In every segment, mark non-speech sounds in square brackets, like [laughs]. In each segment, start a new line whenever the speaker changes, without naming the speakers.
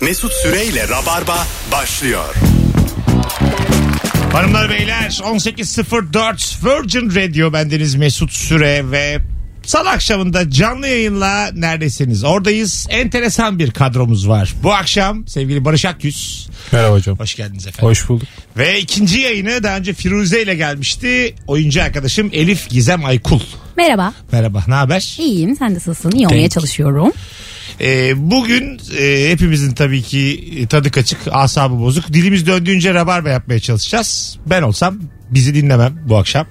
Mesut Süreyle Rabarba başlıyor.
Hanımlar beyler 18.04 Virgin Radio bendeniz Mesut Süre ve Salı akşamında canlı yayınla neredesiniz? Oradayız. Enteresan bir kadromuz var. Bu akşam sevgili Barış Akyüz.
Merhaba hocam.
Hoş geldiniz efendim.
Hoş bulduk.
Ve ikinci yayını daha önce Firuze ile gelmişti. Oyuncu arkadaşım Elif Gizem Aykul.
Merhaba.
Merhaba ne haber?
İyiyim. Sen nasılsın? İyi olmaya çalışıyorum.
Ee, bugün e, hepimizin tabii ki e, tadı kaçık, asabı bozuk. Dilimiz döndüğünce rabarba yapmaya çalışacağız. Ben olsam bizi dinlemem bu akşam.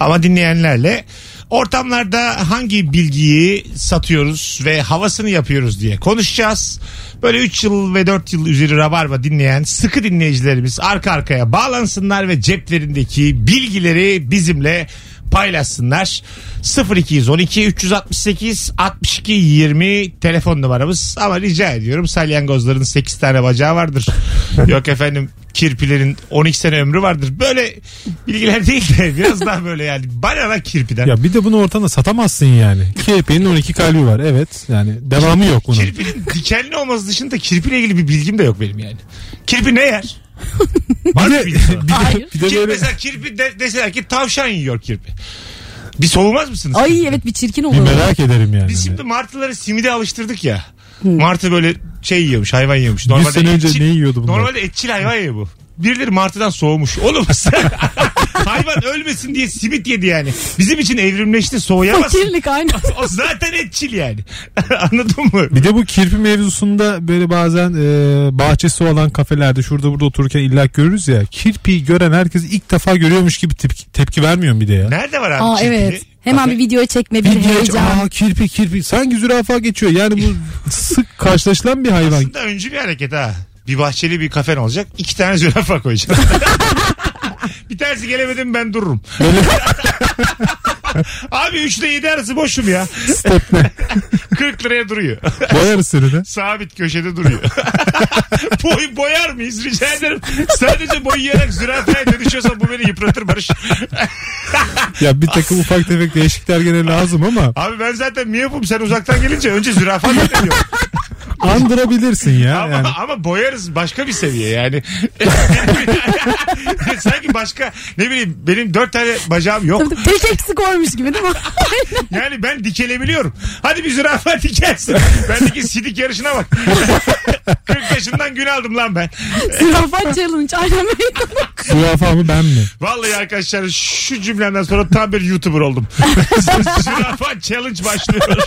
Ama dinleyenlerle ortamlarda hangi bilgiyi satıyoruz ve havasını yapıyoruz diye konuşacağız. Böyle 3 yıl ve 4 yıl üzeri rabarba dinleyen sıkı dinleyicilerimiz arka arkaya bağlansınlar ve ceplerindeki bilgileri bizimle paylaşsınlar. 0212 368 62 20 telefon numaramız ama rica ediyorum salyangozların 8 tane bacağı
[laughs]
vardır. Yok efendim kirpilerin 12 sene ömrü vardır. Böyle bilgiler değil de biraz daha böyle yani bana da kirpiden.
Ya bir de bunu ortada satamazsın yani. Kirpi'nin 12 kalbi var. Evet. Yani devamı yok bunun.
Kirpinin dikenli olması dışında kirpiyle ilgili bir bilgim de yok benim yani. Kirpi ne yer?
Bir de,
bilgisi var.
[laughs] bir de,
Hayır.
bir de
Kirpi
böyle
mesela kirpi de, deseler ki tavşan yiyor kirpi. Bir soğumaz mısınız?
Ay evet bir çirkin
bir
oluyor. [laughs]
merak ederim yani.
Biz şimdi martıları simide alıştırdık ya. Martı böyle şey yiyormuş, hayvan yiyormuş.
Yüz sene önce ne yiyordu bunlar?
Normalde etçil hayvan yiyor bu. Birileri martıdan soğumuş. Oğlum [laughs] sen- hayvan ölmesin diye simit yedi yani. Bizim için evrimleşti soğuyamazsın.
Fakirlik aynı.
o zaten etçil yani. [laughs] Anladın mı?
Bir de bu kirpi mevzusunda böyle bazen e, bahçesi olan kafelerde şurada burada otururken illa görürüz ya. Kirpiyi gören herkes ilk defa görüyormuş gibi tepki, tepki vermiyor bir de ya.
Nerede var abi?
Aa
çirkini?
evet. Hemen bir video çekme bir
Bir geç
heyecan.
aa kirpi kirpi sanki zürafa geçiyor. Yani bu sık karşılaşılan bir
[laughs]
hayvan.
Aslında öncü bir hareket ha. Bir bahçeli bir kafen olacak. iki tane zürafa koyacak. [laughs] bir tanesi gelemedim ben dururum. Abi 3 ile 7 arası boşum ya. [laughs] 40 liraya duruyor.
Boyarız seni de.
Sabit köşede duruyor. [laughs] Boy, boyar mıyız rica ederim. Sadece boyayarak zürafaya dönüşüyorsa bu beni yıpratır Barış.
Ya bir takım ufak tefek değişiklikler gene lazım ama
Abi ben zaten miyopum sen uzaktan gelince önce zürafa dönüyor.
andırabilirsin ya.
Ama, [laughs]
Yani.
ama boyarız başka bir seviye yani. Sanki başka ne bileyim benim dört tane bacağım yok.
Tek eksik olmuş
[laughs]
gibi değil mi?
Yani ben dikelebiliyorum. Hadi bir zürafa dikersin. Bendeki sidik yarışına bak. [laughs] 40 yaşından gün aldım lan ben.
Zürafa challenge. Aynen
Zürafa mı ben mi?
Vallahi arkadaşlar şu cümlemden sonra tam bir YouTuber oldum. [laughs] zürafa challenge başlıyor.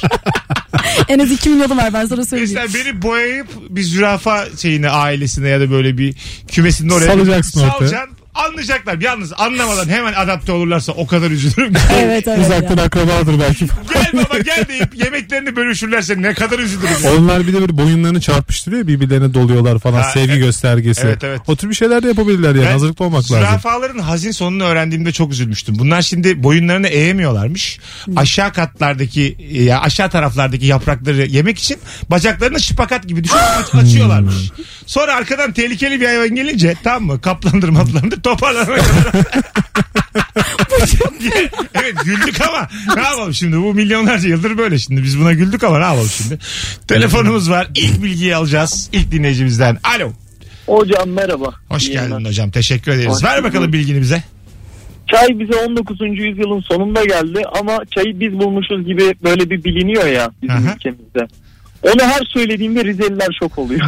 En az 2 milyonu var ben sana söyleyeyim.
Mesela beni boyayıp bir zürafa şeyine ailesine ya da böyle bir kümesinde oraya
Salacaksın ortaya.
Salacaksın. Anlayacaklar. Yalnız anlamadan hemen adapte olurlarsa o kadar üzülürüm. ki.
Evet evet.
Uzaktan
ya.
akrabadır belki.
gel baba gel deyip yemeklerini bölüşürlerse ne kadar üzülürüm. ya.
Onlar bir de bir boyunlarını çarpıştırıyor birbirlerine doluyorlar falan
Ha,
sevgi
evet.
göstergesi.
Evet, evet.
O tür bir şeyler de yapabilirler yani
Ben
hazırlıklı olmak lazım.
Zürafaların hazin sonunu öğrendiğimde çok üzülmüştüm. Bunlar şimdi boyunlarını eğemiyorlarmış. Aşağı katlardaki ya aşağı taraflardaki yaprakları yemek için bacaklarını şıpakat gibi düşünüp aç- açıyorlarmış. Sonra arkadan tehlikeli bir hayvan gelince tamam mı kaplandır maplandır [laughs] toparlanana kadar. [laughs] evet güldük ama ne yapalım şimdi bu milyonlarca yıldır böyle şimdi biz buna güldük ama ne yapalım şimdi. Telefonumuz var ilk bilgiyi alacağız ilk dinleyicimizden alo.
Hocam merhaba.
Hoş
İyi
geldin
yayınlar.
hocam. Teşekkür ederiz.
Hoş
Ver
bulduk.
bakalım bilgini
[laughs]
bize.
Çay bize 19. yüzyılın sonunda geldi ama çayı biz bulmuşuz gibi böyle bir biliniyor ya bizim
Aha.
ülkemizde. Onu her söylediğimde Rizeliler şok [laughs] oluyor.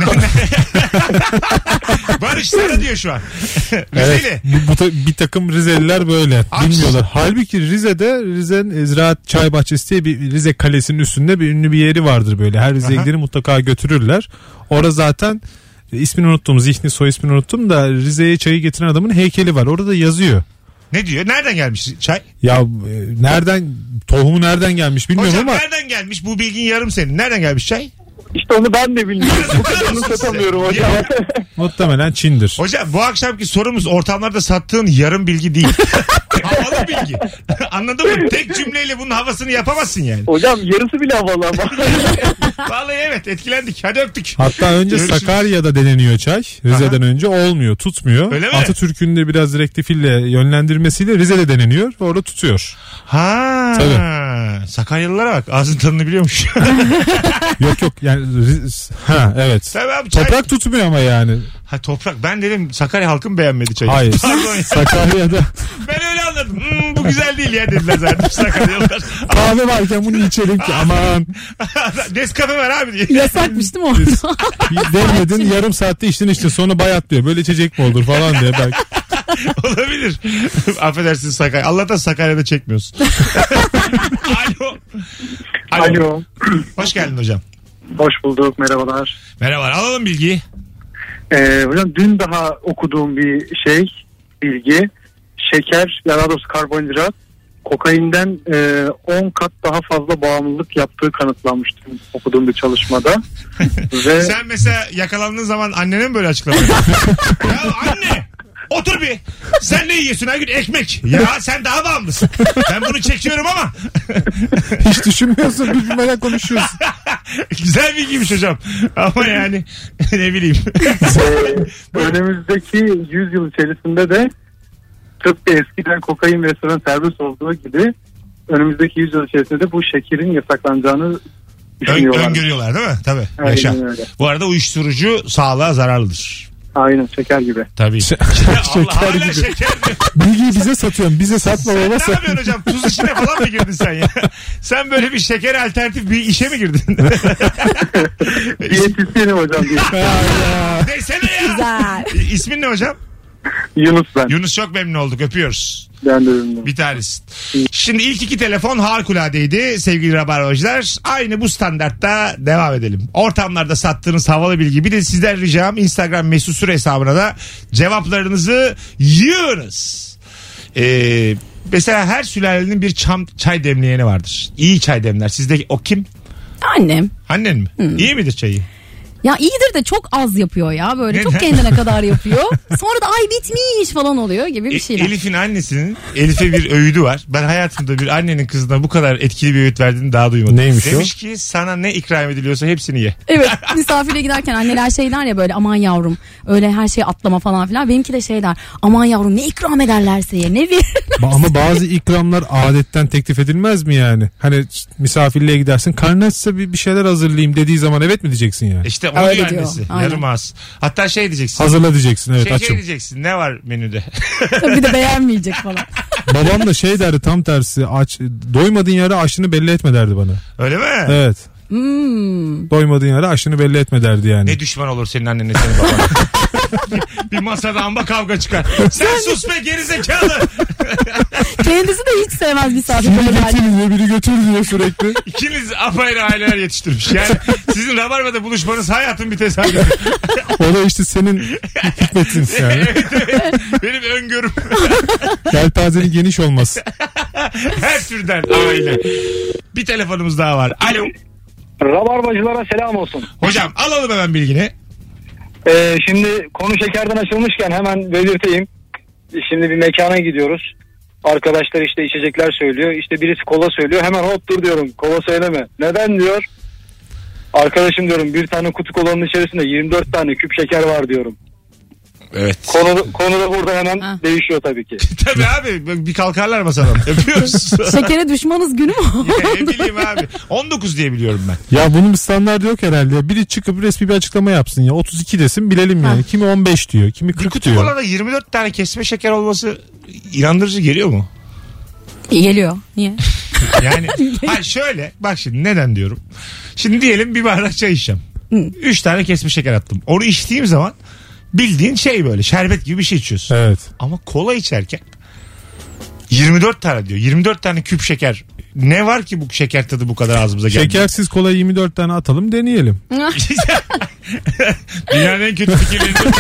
Barış sana diyor şu an. Rizeli.
Evet, bu, bu ta- bir takım Rizeliler böyle
Abi-
bilmiyorlar. Halbuki Rize'de Rize'nin e, Ziraat Çay Bahçesi diye bir Rize Kalesi'nin üstünde bir ünlü bir yeri vardır böyle. Her Rize'ye
Aha.
gideni mutlaka götürürler. Orada zaten e, ismini unuttum, zihni soy ismini unuttum da Rize'ye çayı getiren adamın heykeli var. Orada yazıyor.
Ne diyor? Nereden gelmiş çay?
Ya e, nereden tohumu nereden gelmiş bilmiyorum
Hocam
ama
nereden gelmiş? Bu bilgin yarım senin. Nereden gelmiş çay?
işte onu ben de bilmiyorum.
[laughs]
Bu kadarını
Size.
satamıyorum hocam.
Ya,
muhtemelen Çin'dir. [laughs]
hocam bu akşamki sorumuz ortamlarda sattığın yarım bilgi değil. havalı bilgi. [laughs] Anladın mı? Tek cümleyle bunun havasını yapamazsın yani.
Hocam yarısı bile havalı ama.
Vallahi evet etkilendik. Hadi öptük.
Hatta önce
Görüşürüz.
Sakarya'da deneniyor çay. Rize'den önce olmuyor, tutmuyor.
Öyle mi?
Atatürk'ün de biraz direktifille yönlendirmesiyle Rize'de deneniyor. Orada tutuyor.
Ha. Sakaryalılara bak. Ağzın tadını biliyormuş. [laughs]
yok yok yani Riz- ha evet.
tamam çay.
Toprak tutmuyor ama yani.
Ha, toprak. Ben dedim Sakarya halkı mı beğenmedi çayı?
Hayır.
Pardon ya. [laughs]
Sakarya'da
Ben öyle anladım. Hmm, bu güzel değil ya dediler zaten [laughs] Sakaryalılar.
kahve varken bunu içelim ki aman
Nescafe var abi diye.
Yasakmış değil mi orada?
demedin yarım saatte içtin işte sonra bayat diyor. Böyle içecek mi olur falan diye belki.
[laughs] Olabilir. Affedersin Sakarya. Allah'tan Sakarya'da çekmiyorsun. [laughs] Alo.
Alo.
Hoş geldin hocam.
Hoş bulduk. Merhabalar.
Merhabalar. Alalım bilgiyi.
Ee, hocam dün daha okuduğum bir şey, bilgi. Şeker, ya daha doğrusu karbonhidrat kokainden e, 10 kat daha fazla bağımlılık yaptığı kanıtlanmıştı okuduğum bir çalışmada. Ve
Sen mesela yakalandığın zaman annene mi böyle açıklama yapıyorsun? [laughs] ya anne otur bir. Sen ne yiyorsun her gün ekmek. Ya sen daha bağımlısın. Ben bunu çekiyorum ama. [laughs]
Hiç düşünmüyorsun
[laughs]
düşünmeden konuşuyorsun.
Güzel bilgiymiş hocam. Ama yani [laughs] ne bileyim.
e, önümüzdeki 100 yıl içerisinde de tıpkı eskiden kokain ve sıra serbest olduğu gibi önümüzdeki 100 yıl içerisinde de bu şekerin yasaklanacağını
Ön,
düşünüyorlar.
öngörüyorlar değil mi? Tabii.
Aynen
Yaşa.
öyle.
Bu arada uyuşturucu sağlığa zararlıdır.
Aynen şeker gibi.
Tabii. Allah
[laughs] şeker
hala
gibi.
şeker
[laughs]
diyor.
Bilgiyi bize
[laughs]
satıyorsun bize satma
Sen ne
baba
yapıyorsun hocam? Tuz işine falan mı girdin sen ya? [laughs] Sen böyle bir şeker alternatif bir işe mi
[laughs]
girdin? [laughs]
Diyetisyenim hocam diye.
Desene ya.
[laughs] Güzel.
İsmin ne hocam?
Yunus ben.
Yunus çok memnun olduk. Öpüyoruz.
Ben de ünlü.
Bir tanesi. Şimdi ilk iki telefon harikuladeydi sevgili rabarbacılar. Aynı bu standartta devam edelim. Ortamlarda sattığınız havalı bilgi. Bir de sizden ricam Instagram mesut süre hesabına da cevaplarınızı yığınız. Ee, mesela her sülalenin bir çam, çay demleyeni vardır. İyi çay demler. Sizde o kim?
Annem.
Annen mi?
Hmm.
İyi midir çayı?
Ya iyidir de çok az yapıyor ya böyle.
Neden?
Çok kendine
[laughs]
kadar yapıyor. Sonra da ay bitmiş falan oluyor gibi
E,
bir şeyler.
E, Elif'in annesinin Elif'e bir öğüdü var. Ben hayatımda bir annenin kızına bu kadar etkili bir öğüt verdiğini daha duymadım.
Neymiş o?
Demiş ki sana ne ikram ediliyorsa hepsini ye.
Evet misafire giderken anneler şeyler ya böyle aman yavrum öyle her şeyi atlama falan filan. Benimki de şeyler aman yavrum ne ikram ederlerse ye ne bir. [laughs]
Ba- Ama bazı ikramlar adetten teklif edilmez mi yani? Hani misafirliğe gidersin karnı açsa bir, bir şeyler hazırlayayım dediği zaman evet mi diyeceksin yani?
İşte onu
Öyle
diyor
diyor.
annesi.
Aynen.
Yarım ağız. Hatta şey diyeceksin.
Hazırla diyeceksin evet
şey, şey
açım.
diyeceksin. Ne var menüde? [laughs]
bir de beğenmeyecek falan.
Babam da şey derdi tam tersi aç doymadığın yere aşını belli etme derdi bana.
Öyle mi?
Evet. Doymadığın yere aşını belli etme derdi yani.
Ne düşman olur senin annenle senin baban. [laughs] bir, bir masada amba kavga
[laughs]
çıkar. Sen sus be gerizekalı.
Kendisi de hiç sevmez
Biri
misafirleri. yani.
getir diyor biri götür diyor sürekli.
İkiniz apayrı aileler yetiştirmiş. Yani sizin Rabarba'da buluşmanız hayatın bir tesadüfü. [laughs]
O da işte senin hikmetin yani.
Benim öngörüm [laughs]
Yelpazenin geniş olması.
her türden aile. Bir telefonumuz daha var. Alo.
Rabarbacılara selam olsun.
Hocam alalım hemen bilgini. [laughs]
Ee, şimdi konu şekerden açılmışken hemen belirteyim. Şimdi bir mekana gidiyoruz. Arkadaşlar işte içecekler söylüyor. İşte birisi kola söylüyor. Hemen hop dur diyorum. Kola söyleme. Neden diyor. Arkadaşım diyorum bir tane kutu kolanın içerisinde 24 tane küp şeker var diyorum.
Evet.
Konu, konu da burada hemen
Ha.
değişiyor tabii ki.
Tabii abi bir kalkarlar masadan. Öpüyoruz.
[laughs]
Şekere düşmanız günü
[laughs]
mü?
Ya ne bileyim abi. 19 diye biliyorum ben.
Ya bunun bir standartı yok herhalde. ya. Biri çıkıp resmi bir açıklama yapsın ya. 32 desin bilelim yani. Kimi 15 diyor, kimi 40
Kutu
diyor.
kolada 24 tane kesme şeker olması inandırıcı geliyor mu?
Geliyor. Niye?
Yani hayır şöyle bak şimdi neden diyorum. Şimdi diyelim bir bardak çay içeceğim. 3 tane kesme şeker attım. Onu içtiğim zaman bildiğin şey böyle şerbet gibi bir şey içiyorsun.
Evet.
Ama kola içerken 24 tane diyor. 24 tane küp şeker. Ne var ki bu şeker tadı bu kadar ağzımıza geldi?
Şekersiz kola 24 tane atalım deneyelim.
[laughs] Dünyanın en kötü fikirlerinden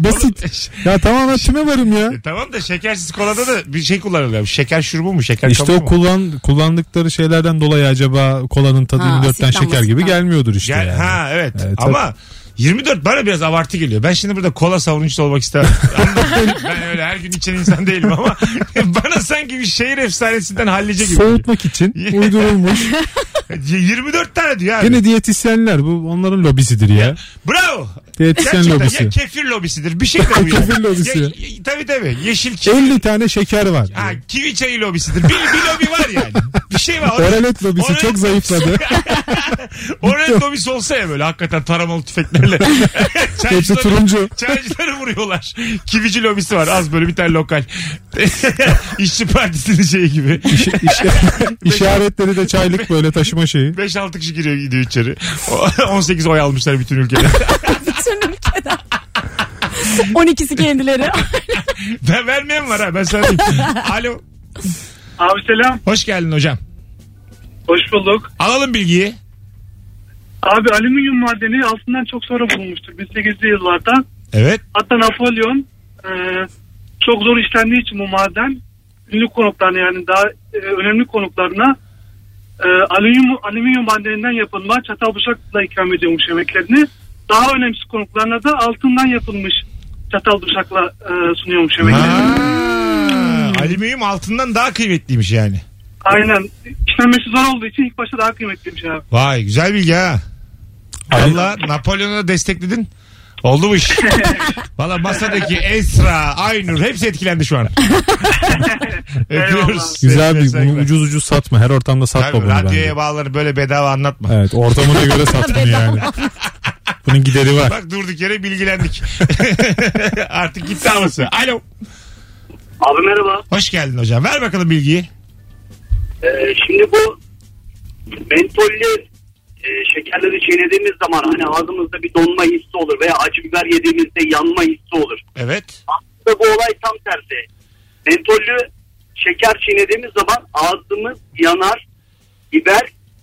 Basit. ya tamamen tüme varım ya.
E tamam da şekersiz kolada da bir şey kullanılıyor. Şeker şurubu mu? Şeker
İşte
kabuğu
o
mu?
kullan kullandıkları şeylerden dolayı acaba kolanın tadı
Ha,
24'ten
asitten,
şeker gibi
basitten.
gelmiyordur işte.
Gel,
yani.
ha evet.
Evet,
Ama 24 bana biraz abartı geliyor. Ben şimdi burada kola savunucusu olmak
[laughs]
istemem. Anladın mı? ben öyle her gün içen insan değilim ama [laughs] bana sanki bir şehir efsanesinden hallice gibi. geliyor.
Soğutmak için
[laughs]
uydurulmuş.
24 tane diyor abi.
Yine diyetisyenler bu onların lobisidir ya.
Bravo.
Diyetisyen
Gerçekten
lobisi.
ya kefir lobisidir. Bir şey de bu ya.
Kefir lobisi.
Ya, ya, tabii tabii. Yeşil kivi.
50 tane şeker var.
Ha, kivi çayı lobisidir. Bir, bir lobi var yani. Bir şey var. Orada-
Oralet lobisi
Oralet
çok zayıfladı.
Oraya Tomis olsa ya böyle hakikaten taramalı tüfeklerle.
Hepsi
Çaycıları-
turuncu.
Çaycıları vuruyorlar. Kivici lobisi var az böyle bir tane lokal. İşçi partisinin şeyi gibi.
İş, iş-
[laughs]
işaretleri de çaylık böyle taşıma şeyi.
5-6 kişi giriyor gidiyor içeri. O- [laughs] 18 oy almışlar bütün ülkede. [laughs]
Bütün ülkeden. [laughs] 12'si kendileri.
ben vermeyen var ha ben sana diyeyim. Alo.
Abi selam.
Hoş geldin hocam.
Hoş bulduk.
Alalım bilgiyi.
Abi alüminyum madeni altından çok sonra bulunmuştur. 1800'lü yıllarda.
Evet.
Hatta Napolyon e, çok zor işlendiği için bu maden ünlü konuklarına yani daha e, önemli konuklarına e, alüminyum, alüminyum madeninden yapılma çatal bıçakla ikram ediyormuş yemeklerini. Daha önemsiz konuklarına da altından yapılmış çatal bıçakla e, sunuyormuş yemeklerini.
Ha, alüminyum altından daha kıymetliymiş yani.
Aynen. İşlenmesi zor olduğu için ilk başta daha kıymetliymiş abi.
Vay güzel bilgi ha. Valla Napolyon'u da destekledin. Oldu bu iş. Valla masadaki Esra, Aynur hepsi etkilendi şu an. [laughs] Öpüyoruz.
Eyvallah.
Güzel
Sevgiler,
bir bunu
saygılar.
ucuz ucuz satma. Her ortamda satma
Tabii,
bunu bence.
radyoya bağları böyle bedava anlatma.
Evet ortamına göre
[laughs]
satma yani. Bunun gideri var.
Bak durduk yere bilgilendik. [laughs] Artık gitti havası. Alo.
Abi merhaba.
Hoş geldin hocam. Ver bakalım bilgiyi.
Ee, şimdi bu mentollü e, şekerleri çiğnediğimiz zaman hani ağzımızda bir donma hissi olur veya acı biber yediğimizde yanma hissi olur.
Evet.
Aslında bu olay tam tersi. Mentollü şeker çiğnediğimiz zaman ağzımız yanar. Biber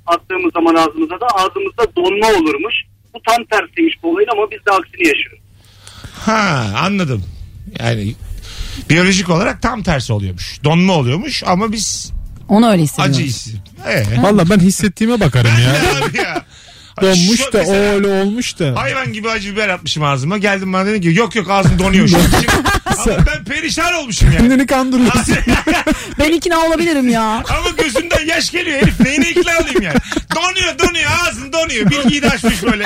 attığımız zaman ağzımıza da ağzımızda donma olurmuş. Bu tam tersiymiş bu olayın ama biz de aksini yaşıyoruz.
Ha anladım. Yani biyolojik olarak tam tersi oluyormuş. Donma oluyormuş ama biz
Onu öyle hissediyorum.
acıyız. Ee,
Valla ben hissettiğime bakarım ya.
ne abi
[laughs]
ya?
Donmuş
Şu-
da o
mesela-
öyle olmuş da.
Hayvan gibi acı biber atmışım ağzıma. Geldim bana dedim ki yok yok ağzım donuyor şimdi.
[laughs]
Şimdi- Ama ben perişan olmuşum yani.
Kendini kandırıyorsun.
Ben ikna olabilirim ya.
[laughs] Ama gözünden yaş geliyor herif. Neyine ikna olayım yani. Donuyor donuyor ağzın donuyor. Bilgiyi de açmış böyle.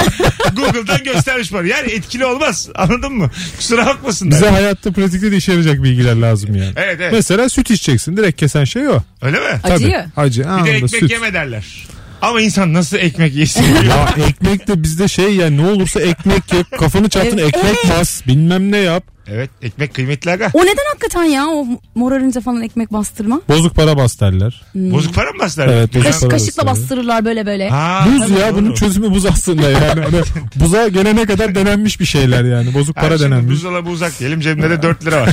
Google'dan göstermiş bana. Yani etkili olmaz. Anladın mı? Kusura bakmasınlar.
Bize hayatta pratikte de işe yarayacak bilgiler lazım yani.
Evet, evet.
Mesela süt içeceksin. Direkt kesen şey o.
Öyle mi?
Acıyı.
Tabii. Acı.
Bir de
anında
ekmek
süt.
yeme derler. Ama insan nasıl ekmek yesin?
Ya ekmek de bizde şey yani ne olursa ekmek yap. Kafanı çarptın
Evet.
ekmek bas. Bilmem ne yap.
evet ekmek kıymetli aga.
O neden hakikaten ya o morarınca falan ekmek bastırma?
Bozuk para bas derler.
Bozuk para mı bastılar?
Hmm. Evet, bozuk
Kaş,
para
kaşıkla
bastırma.
bastırırlar böyle böyle.
Ha,
Buz
tabii,
ya
doğru.
bunun çözümü buz aslında yani. Hani buza gelene kadar denenmiş bir şeyler yani. Bozuk
Ha,
para
şimdi
denenmiş.
şey Buzdolabı uzak diyelim cebimde de 4 lira var.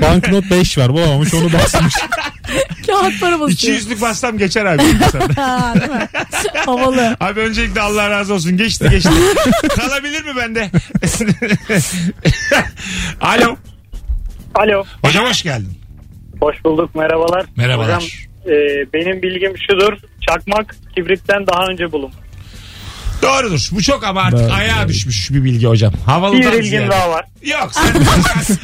Banknot 5 var bulamamış
[laughs]
onu basmış.
Kağıt para
İki
basıyor.
yüzlük bassam geçer abi. [laughs] insanda.
Ha, değil mi? Havalı.
Abi öncelikle Allah razı olsun. Geçti geçti. Kalabilir mi bende? [laughs] Alo.
Alo.
Hocam hoş geldin.
Hoş bulduk. Merhabalar.
Merhabalar.
Hocam, e, benim bilgim şudur. Çakmak kibritten daha önce bulun.
Doğrudur. Bu çok ama artık
Ben-
ayağa düşmüş bir bilgi hocam. Havalı
Bir bilgim daha var.
Yok
[laughs]
sen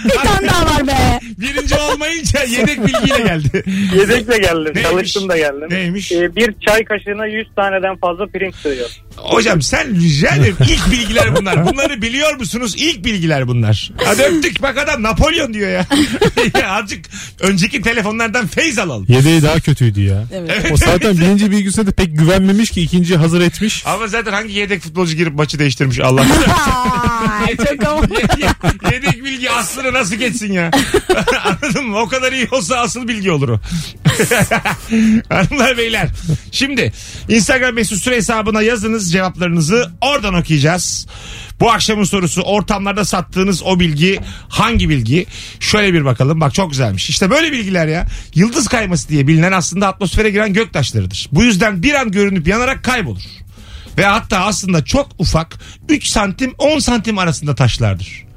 Bir tane daha var be.
birinci olmayınca yedek bilgiyle
[laughs]
geldi.
Yedekle geldim.
Neymiş?
Çalıştım da geldim.
Neymiş?
E, bir çay kaşığına 100 taneden fazla pirinç sığıyor.
Hocam sen rica ederim ilk bilgiler bunlar. Bunları biliyor musunuz? İlk bilgiler bunlar. Hadi öptük bak adam Napolyon diyor ya. [laughs] ya azıcık önceki telefonlardan feyz alalım.
Yedeği daha kötüydü ya.
Evet.
O zaten birinci bilgisine de pek güvenmemiş ki ikinci hazır etmiş.
Ama zaten hangi yedek futbolcu girip maçı değiştirmiş Allah.
Ay, çok havalı.
Ye- Yedek bilgi aslını nasıl geçsin ya? [laughs] Anladın mı? O kadar iyi olsa asıl bilgi olur o. [laughs] Hanımlar beyler. Şimdi Instagram mesut süre hesabına yazınız cevaplarınızı. Oradan okuyacağız. Bu akşamın sorusu ortamlarda sattığınız o bilgi hangi bilgi? Şöyle bir bakalım. Bak çok güzelmiş. İşte böyle bilgiler ya. Yıldız kayması diye bilinen aslında atmosfere giren göktaşlarıdır. Bu yüzden bir an görünüp yanarak kaybolur ve hatta aslında çok ufak 3 santim 10 santim arasında taşlardır.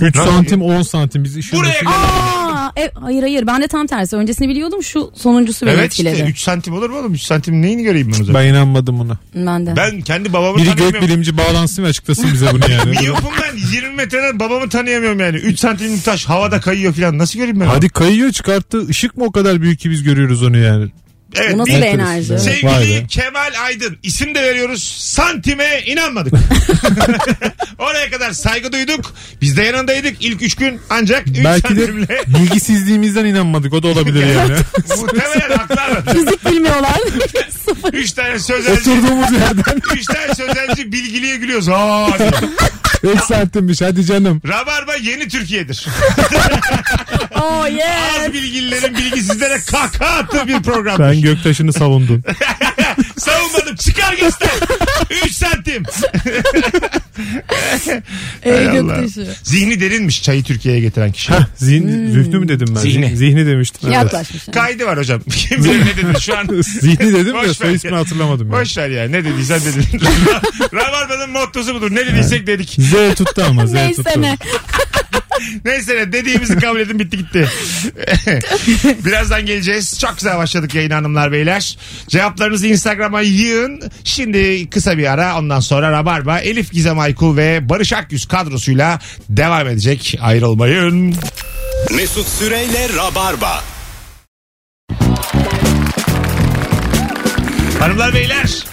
3
Nasıl?
santim 10 santim biz işin
Buraya
arasında-
kadar.
Aa, e, hayır hayır ben de tam tersi. Öncesini biliyordum şu sonuncusu beni
Evet
etkiledi.
işte 3 santim olur mu oğlum? 3 santim neyini göreyim ben o zaman?
Ben inanmadım buna.
Ben de.
Ben kendi babamı
Biri
tanıyamıyorum.
gökbilimci bağlansın ve açıklasın bize bunu yani.
Miyopum ben 20 metreden babamı tanıyamıyorum yani. 3 santimlik taş havada kayıyor falan. Nasıl göreyim ben? onu?
Hadi kayıyor çıkarttı. Işık mı o kadar büyük ki biz görüyoruz onu yani.
Evet,
Bu nasıl
bir-
bir enerji?
Evet. Vay be.
Sevgili Kemal Aydın isim de veriyoruz santime
[laughs]
inanmadık. Oraya kadar saygı duyduk. Biz de yanındaydık ilk üç gün ancak 3
Belki de [laughs]
santimle
bilgisizliğimizden inanmadık. O
[laughs]
da olabilir yani.
muhtemelen haklarla. [laughs]
Fizik bilmiyorlar. Sıfır.
Üç tane sözelci,
Oturduğumuz yerden
üç tane sözelci bilgiliye gülüyoruz. Aa, diye.
5 santimmiş hadi canım.
Rabarba yeni Türkiye'dir.
Oh yeah.
Az bilgililerin bilgisizlere kahkaha attığı bir program.
Ben göktaşını savundum.
Savunmadım çıkar göster. 3 santim.
Ey
Hay Allah.
göktaşı.
Zihni derinmiş çayı Türkiye'ye getiren kişi.
Hah, zihni, zühdü mü dedim ben?
Zihni.
Zihni demiştim. evet. [laughs]
Yaklaşmış. yani.
Kaydı var hocam. [laughs] Kim bilir ne dedin şu an.
Zihni dedim
Boş ver
de soy
ya.
ismini hatırlamadım. Yani.
Boş ver ya ne dediysen dedin. [laughs] Rabarba'nın mottosu budur. Ne dediysek dedik.
Z tuttu ama Z tuttu.
Neyse ne.
Neyse ne dediğimizi kabul edin bitti gitti. Birazdan geleceğiz. Çok güzel başladık yayın hanımlar beyler. Cevaplarınızı Instagram'a yığın. Şimdi kısa bir ara ondan sonra Rabarba Elif Gizem Aykul ve Barış Akyüz kadrosuyla devam edecek. Ayrılmayın.
Mesut Süreyle Rabarba.
Hanımlar beyler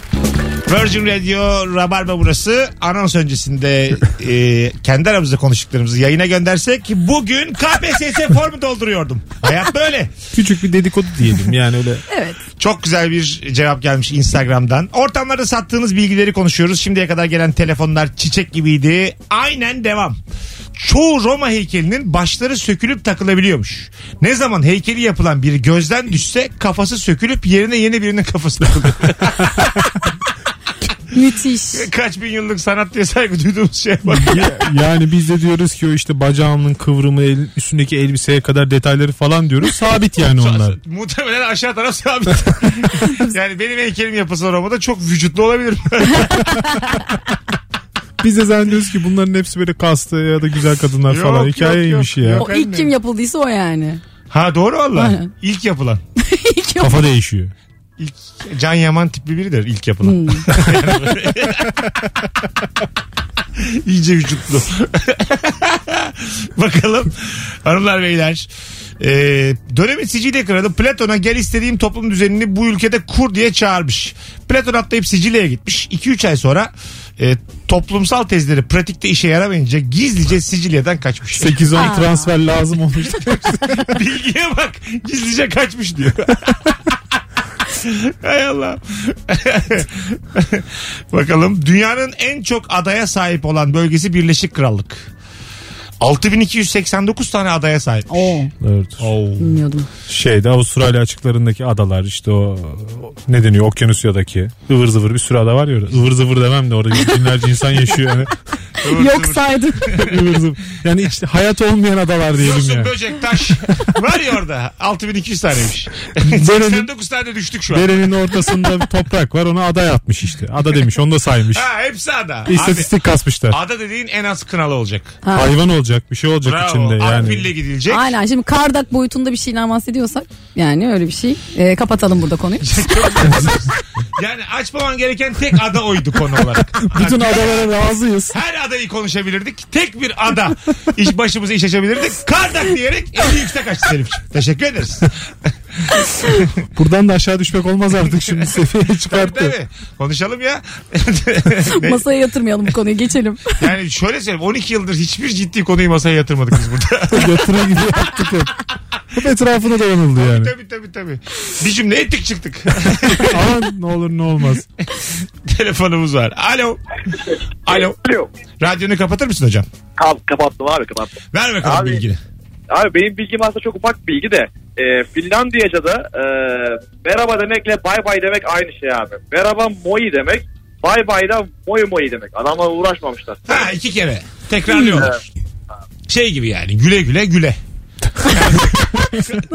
Virgin Radio Rabarba burası. Anons öncesinde e, kendi aramızda konuştuklarımızı yayına göndersek bugün KPSS formu dolduruyordum. Hayat böyle.
Küçük bir dedikodu diyelim yani öyle.
Çok güzel bir cevap gelmiş Instagram'dan. Ortamlarda sattığınız bilgileri konuşuyoruz. Şimdiye kadar gelen telefonlar çiçek gibiydi. Aynen devam. Çoğu Roma heykelinin başları sökülüp takılabiliyormuş. Ne zaman heykeli yapılan biri gözden düşse kafası sökülüp yerine yeni birinin kafası [laughs] takılıyor.
Müthiş.
Kaç bin yıllık sanat diye saygı duyduğumuz şey var.
Ya- yani biz de diyoruz ki o işte bacağımın kıvrımı, el- üstündeki elbiseye kadar detayları falan diyoruz. Sabit yani onlar.
Muhtemelen aşağı taraf sabit. [laughs] yani benim heykelim yapısı Roma'da çok vücutlu olabilir.
Biz de zannediyoruz ki bunların hepsi böyle kastı ya da güzel kadınlar
Yok,
falan.
yok,
Hikayeymiş
yok,
ya.
yok.
O ilk kim yapıldıysa o yani.
ha doğru valla.
Aynen.
İlk yapılan.
İlk yap-
Kafa değişiyor.
İlk, Can Yaman tipli biridir ilk yapılan. [laughs] İyice vücutlu. [laughs] Bakalım hanımlar beyler. Ee, dönemin Sicilya kralı Platon'a gel istediğim toplum düzenini bu ülkede kur diye çağırmış. Platon atlayıp Sicilya'ya gitmiş. 2-3 ay sonra e, toplumsal tezleri pratikte işe yaramayınca gizlice Sicilya'dan kaçmış.
8-10 transfer lazım olmuş.
[laughs] Bilgiye bak gizlice kaçmış diyor. [laughs] Hay Allah. [laughs] Bakalım dünyanın en çok adaya sahip olan bölgesi Birleşik Krallık. 6289 tane adaya sahip.
Oo,
Evet.
bilmiyordum.
Şeyde Avustralya açıklarındaki adalar işte o o- ne deniyor Okyanusya'daki ıvır zıvır bir sürü ada var ya orada. Ivır zıvır demem de orada binlerce insan yaşıyor yani. [laughs]
Yok
[laughs]
saydım.
Ivır zıvır. Yani işte hayat olmayan adalar diyelim
Yosun,
ya.
böcek, taş [laughs] var ya orada. 6200 taneymiş.
Derenin-
89 tane düştük şu an.
Derenin ortasında bir toprak var ona ada yapmış işte. Ada demiş onu da saymış.
Ha, hepsi ada. Abi,
İstatistik kasmışlar.
ada dediğin en az kınalı olacak.
Hayvan olacak bir şey olacak
Bravo.
içinde
Akbille
yani.
gidilecek.
Aynen şimdi kardak boyutunda bir şeyden bahsediyorsak yani öyle bir şey. Ee, kapatalım
[laughs]
burada konuyu.
Yani açmaman gereken tek ada oydu konu olarak.
Bütün adalara razıyız.
Her adayı konuşabilirdik. Tek bir ada iş başımıza iş açabilirdik. Kardak diyerek en yüksek açtı Selim'ciğim. Teşekkür ederiz.
Buradan da aşağı düşmek olmaz artık
[laughs]
şimdi seviyeye çıkarttı.
Tabii. Konuşalım ya.
Masaya yatırmayalım bu
[laughs]
konuyu geçelim.
yani şöyle söyleyeyim. 12 yıldır hiçbir ciddi konuyu masaya yatırmadık biz burada.
Yatırı gibi yaptık hep. Hep etrafına dayanıldı yani.
tabii tabii tabii. Bir cümle ettik çıktık. [laughs]
Aman ne olur ne olmaz.
Telefonumuz var. Alo. Alo.
Alo.
Radyonu kapatır mısın hocam?
Kap, kapattım abi kapattım.
Ver bakalım
Abi.
bilgini.
Abi benim bilgim aslında çok ufak bir bilgi de. E, Finlandiyaca'da e, merhaba demekle bay bay demek aynı şey abi. Merhaba moi demek. Bay bay da moi moi demek. Adamla uğraşmamışlar.
Ha iki kere. Tekrarlıyorlar. Şey gibi yani güle güle güle.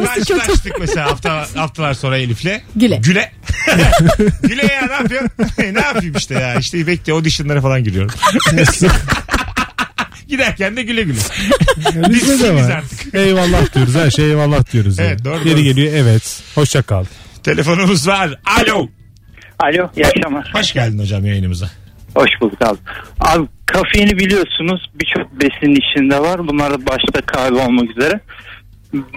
Karşılaştık mesela hafta, haftalar sonra Elif'le.
Güle.
Güle. [laughs] güle ya [laughs] ne yapıyorsun? ne yapayım işte ya. İşte bekle auditionlara falan giriyorum. [laughs] Giderken de güle güle.
Bizde
Biz
de
kimiz
var.
artık?
[laughs] Eyvallah diyoruz her şey eyvallah diyoruz. yani.
Evet, doğru,
Yeri
doğru.
geliyor evet. Hoşça [laughs] kal.
Telefonumuz var. Alo.
Alo iyi akşamlar.
Hoş geldin hocam yayınımıza.
Hoş bulduk abi. Abi kafeini biliyorsunuz birçok besinin içinde var. Bunlar başta kahve olmak üzere.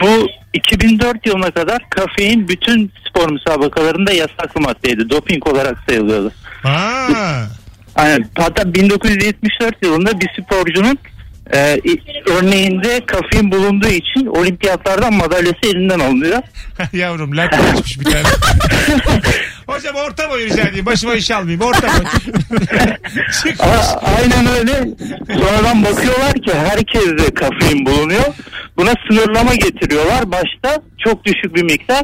Bu 2004 yılına kadar kafein bütün spor müsabakalarında yasaklı maddeydi. Doping olarak sayılıyordu.
Ha. [laughs]
Aynen. Hatta 1974 yılında bir sporcunun e, i- örneğinde kafein bulunduğu için olimpiyatlardan madalyası elinden alınıyor.
Yavrum lak açmış bir tane. [laughs] Hocam orta boy rica edeyim. Başıma iş almayayım. Orta boy. [laughs] Çıkmış.
A- aynen öyle. Sonradan bakıyorlar ki herkeste kafein bulunuyor. Buna sınırlama getiriyorlar. Başta çok düşük bir miktar.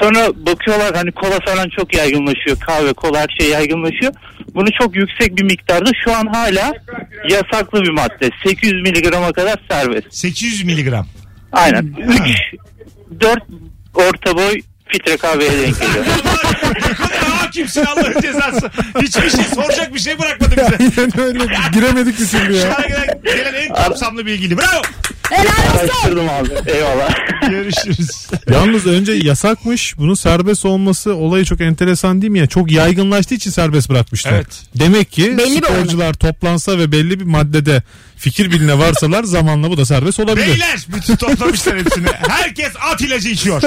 Sonra bakıyorlar hani kola falan çok yaygınlaşıyor. Kahve, kola her şey yaygınlaşıyor. Bunu çok yüksek bir miktarda şu an hala yasaklı bir madde. 800 miligrama kadar serbest.
800 miligram.
Aynen. 3 4 orta boy filtre kahveye
[laughs]
denk geliyor.
Ne kadar [laughs] hakimsin Allah'ın cezası. Hiçbir şey soracak bir şey bırakmadı bize.
Aynen öyle giremedik bir
Şu
türlü ya.
ana kadar gelen en kapsamlı bilgiydi. Bravo.
Helal olsun.
Araştırdım abi. Eyvallah.
Görüşürüz.
[laughs] Yalnız önce yasakmış bunun serbest olması olayı çok enteresan değil mi ya? Çok yaygınlaştığı için serbest bırakmışlar.
Evet.
Demek ki
Belli bir
sporcular toplansa ve belli bir maddede fikir birliğine varsalar [laughs] zamanla bu da serbest olabilir.
Beyler bütün toplamışlar hepsini. Herkes at ilacı içiyor.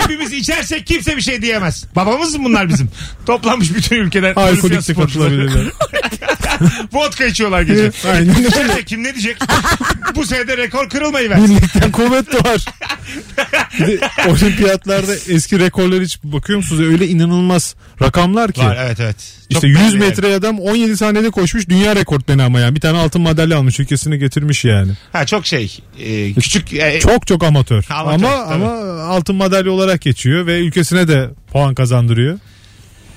Hepimiz içersek kimse bir şey diyemez. Babamız mı bunlar bizim? Toplanmış bütün ülkeden.
Alkolik
olimpiyat
de
sporcuları.
[laughs] katılabilirler.
Vodka içiyorlar gece.
Aynen öyle.
İçeride kim ne diyecek? Bu senede rekor kırılmayı ver.
Birlikten kuvvet de var. Bir de olimpiyatlarda eski rekorlar hiç bakıyor musunuz? Öyle inanılmaz rakamlar ki.
Var evet evet. Çok
İşte 100
belli yani.
metre adam 17 saniyede koşmuş dünya rekortmeni ama yani. Bir tane altın madalya almış ülkesine getirmiş yani.
Ha çok şey. e, küçük. e,
Çok çok amatör.
Amatör,
ama
tabii.
ama altın madalya olarak geçiyor ve ülkesine de puan kazandırıyor.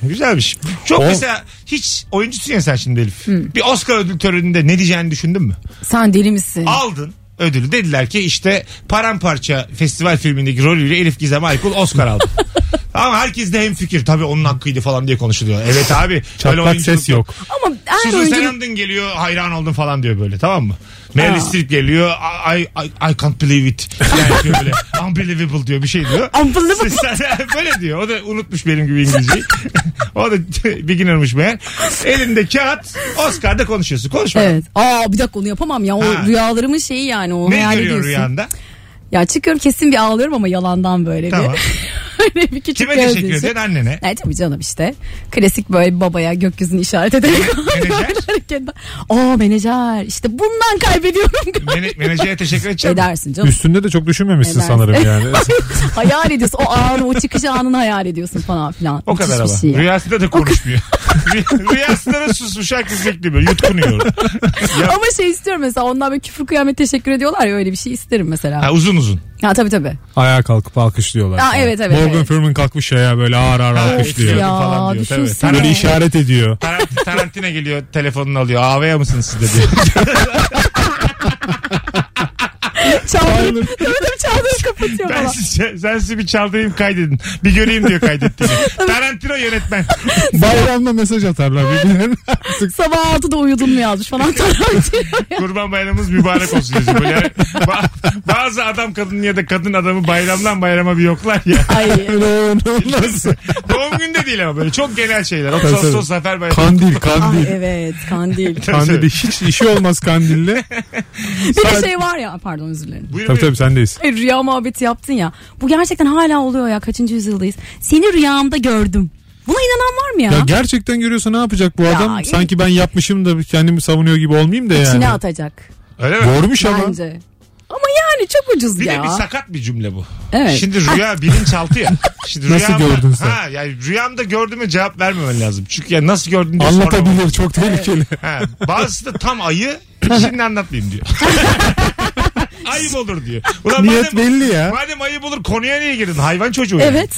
Güzelmiş. Çok
O-
mesela hiç oyuncusun ya sen şimdi Elif. Bir Oscar ödül töreninde ne diyeceğini düşündün mü?
Sen deli misin?
Aldın ödülü. Dediler ki işte paramparça festival filmindeki rolüyle Elif Gizem Aykul Oscar
[laughs]
aldı. Ama herkes de hem fikir. Tabii onun hakkıydı falan diye konuşuluyor. Evet abi. öyle
Çatlak
oyunculuk
ses yok.
Ama her
Susan
oyuncu
Sarandon geliyor hayran oldum falan diyor böyle tamam mı? Meryl
Aa.
Streep geliyor I, I, I, I can't believe it. Yani diyor
[laughs]
böyle unbelievable diyor bir şey diyor. [laughs]
Unbelievable.
Sen- böyle diyor. O da unutmuş benim gibi İngilizceyi. [laughs] o da beginner'mış meğer. Elinde kağıt Oscar'da konuşuyorsun. Konuşma.
Evet. Aa bir dakika onu yapamam ya. O
Ha.
rüyalarımın şeyi yani o
Ne
hayal
görüyor
ediyorsun.
rüyanda?
Ya çıkıyorum kesin bir ağlıyorum ama yalandan böyle
Tamam.
bir. [laughs] Öyle bir küçük
Kime
göz
teşekkür
yaşı.
ediyorsun?
[laughs]
Annene.
Evet tabii canım işte. Klasik böyle bir babaya gökyüzünü işaret ederek. [laughs]
Menajer?
hareketler. Aa menajer işte bundan kaybediyorum galiba.
[laughs] Mene- menajere teşekkür edeceğim.
Edersin canım.
Üstünde de çok düşünmemişsin
Edersin.
sanırım
[laughs]
yani.
hayal ediyorsun.
[laughs]
O anı o çıkış anını hayal ediyorsun falan filan.
O
Müthiş
kadar
bir
ama.
şey ya.
Rüyasında da konuşmuyor. [laughs] Rü- Rüyasında da susmuş. Herkes bekliyor. Yutkunuyor. Ya-
Ama şey istiyorum mesela ondan böyle küfür kıyamet teşekkür ediyorlar ya öyle bir şey isterim mesela.
Ha, uzun uzun.
Ha tabii tabii.
Ayağa kalkıp alkışlıyorlar.
Aa,
falan.
evet, evet,
Morgan
evet.
Freeman kalkmış ya böyle ağır ağır alkışlıyor.
Ya,
falan diyor. Tabii.
düşünsene.
Böyle
Evet.
işaret
[laughs]
ediyor.
Tarant- Tarantino geliyor telefonunu alıyor. AV'ya mısınız siz de diyor.
Çaldırıp, [laughs] tabii tabii çaldırıp kapatıyor
ben,
falan.
size, ben sizi bir çaldırayım kaydedin. Bir göreyim diyor kaydettiğini. Tarantino yönetmen.
Bayramda mesaj atarlar
[laughs]
birbirlerine.
Sabah 6'da uyudun mu yazmış falan.
Kurban bayramımız mübarek olsun yazıyor. Böyle hani ba- bazı adam kadın ya da kadın adamı bayramdan bayrama bir yoklar ya.
Ay
Nasıl?
Doğum günde değil ama böyle çok genel şeyler. 30
Tabii,
Ağustos
tabii.
Zafer Bayramı.
Kandil kandil.
Ay evet kandil.
ah, Kandil hiç işi
[laughs]
olmaz kandille.
Bir de şey var ya pardon özür dilerim.
Buyurun,
tabii
buyurun.
tabii sendeyiz.
E, rüya muhabbeti yaptın ya. Bu gerçekten hala oluyor ya kaçıncı yüzyıldayız. Seni rüyamda gördüm. Buna inanan var mı ya?
Ya gerçekten görüyorsa ne yapacak bu
Ya,
adam?
iyi.
Sanki ben yapmışım da kendimi savunuyor gibi olmayayım da
İçine
yani.
atacak
Öyle mi?
Görmüş ama.
bence. Ama yani çok ucuz
Bir
ya.
de bir sakat bir cümle bu.
Evet.
Şimdi
[laughs]
rüya bilinçaltı ya. Şimdi
Nasıl
rüyamda-
gördün sen?
Ha, yani rüyamda gördüğüme cevap vermemen lazım. Çünkü ya nasıl gördün diye sormam.
Anlatabilir çok tehlikeli.
[laughs] Ha, bazısı da tam
[laughs]
ayı şimdi anlatmayayım diyor. [laughs] ayıp olur diyor. Ulan
Niyet
madem,
belli ya.
madem ayıp olur konuya niye girdin? Hayvan çocuğu. yani.
Evet.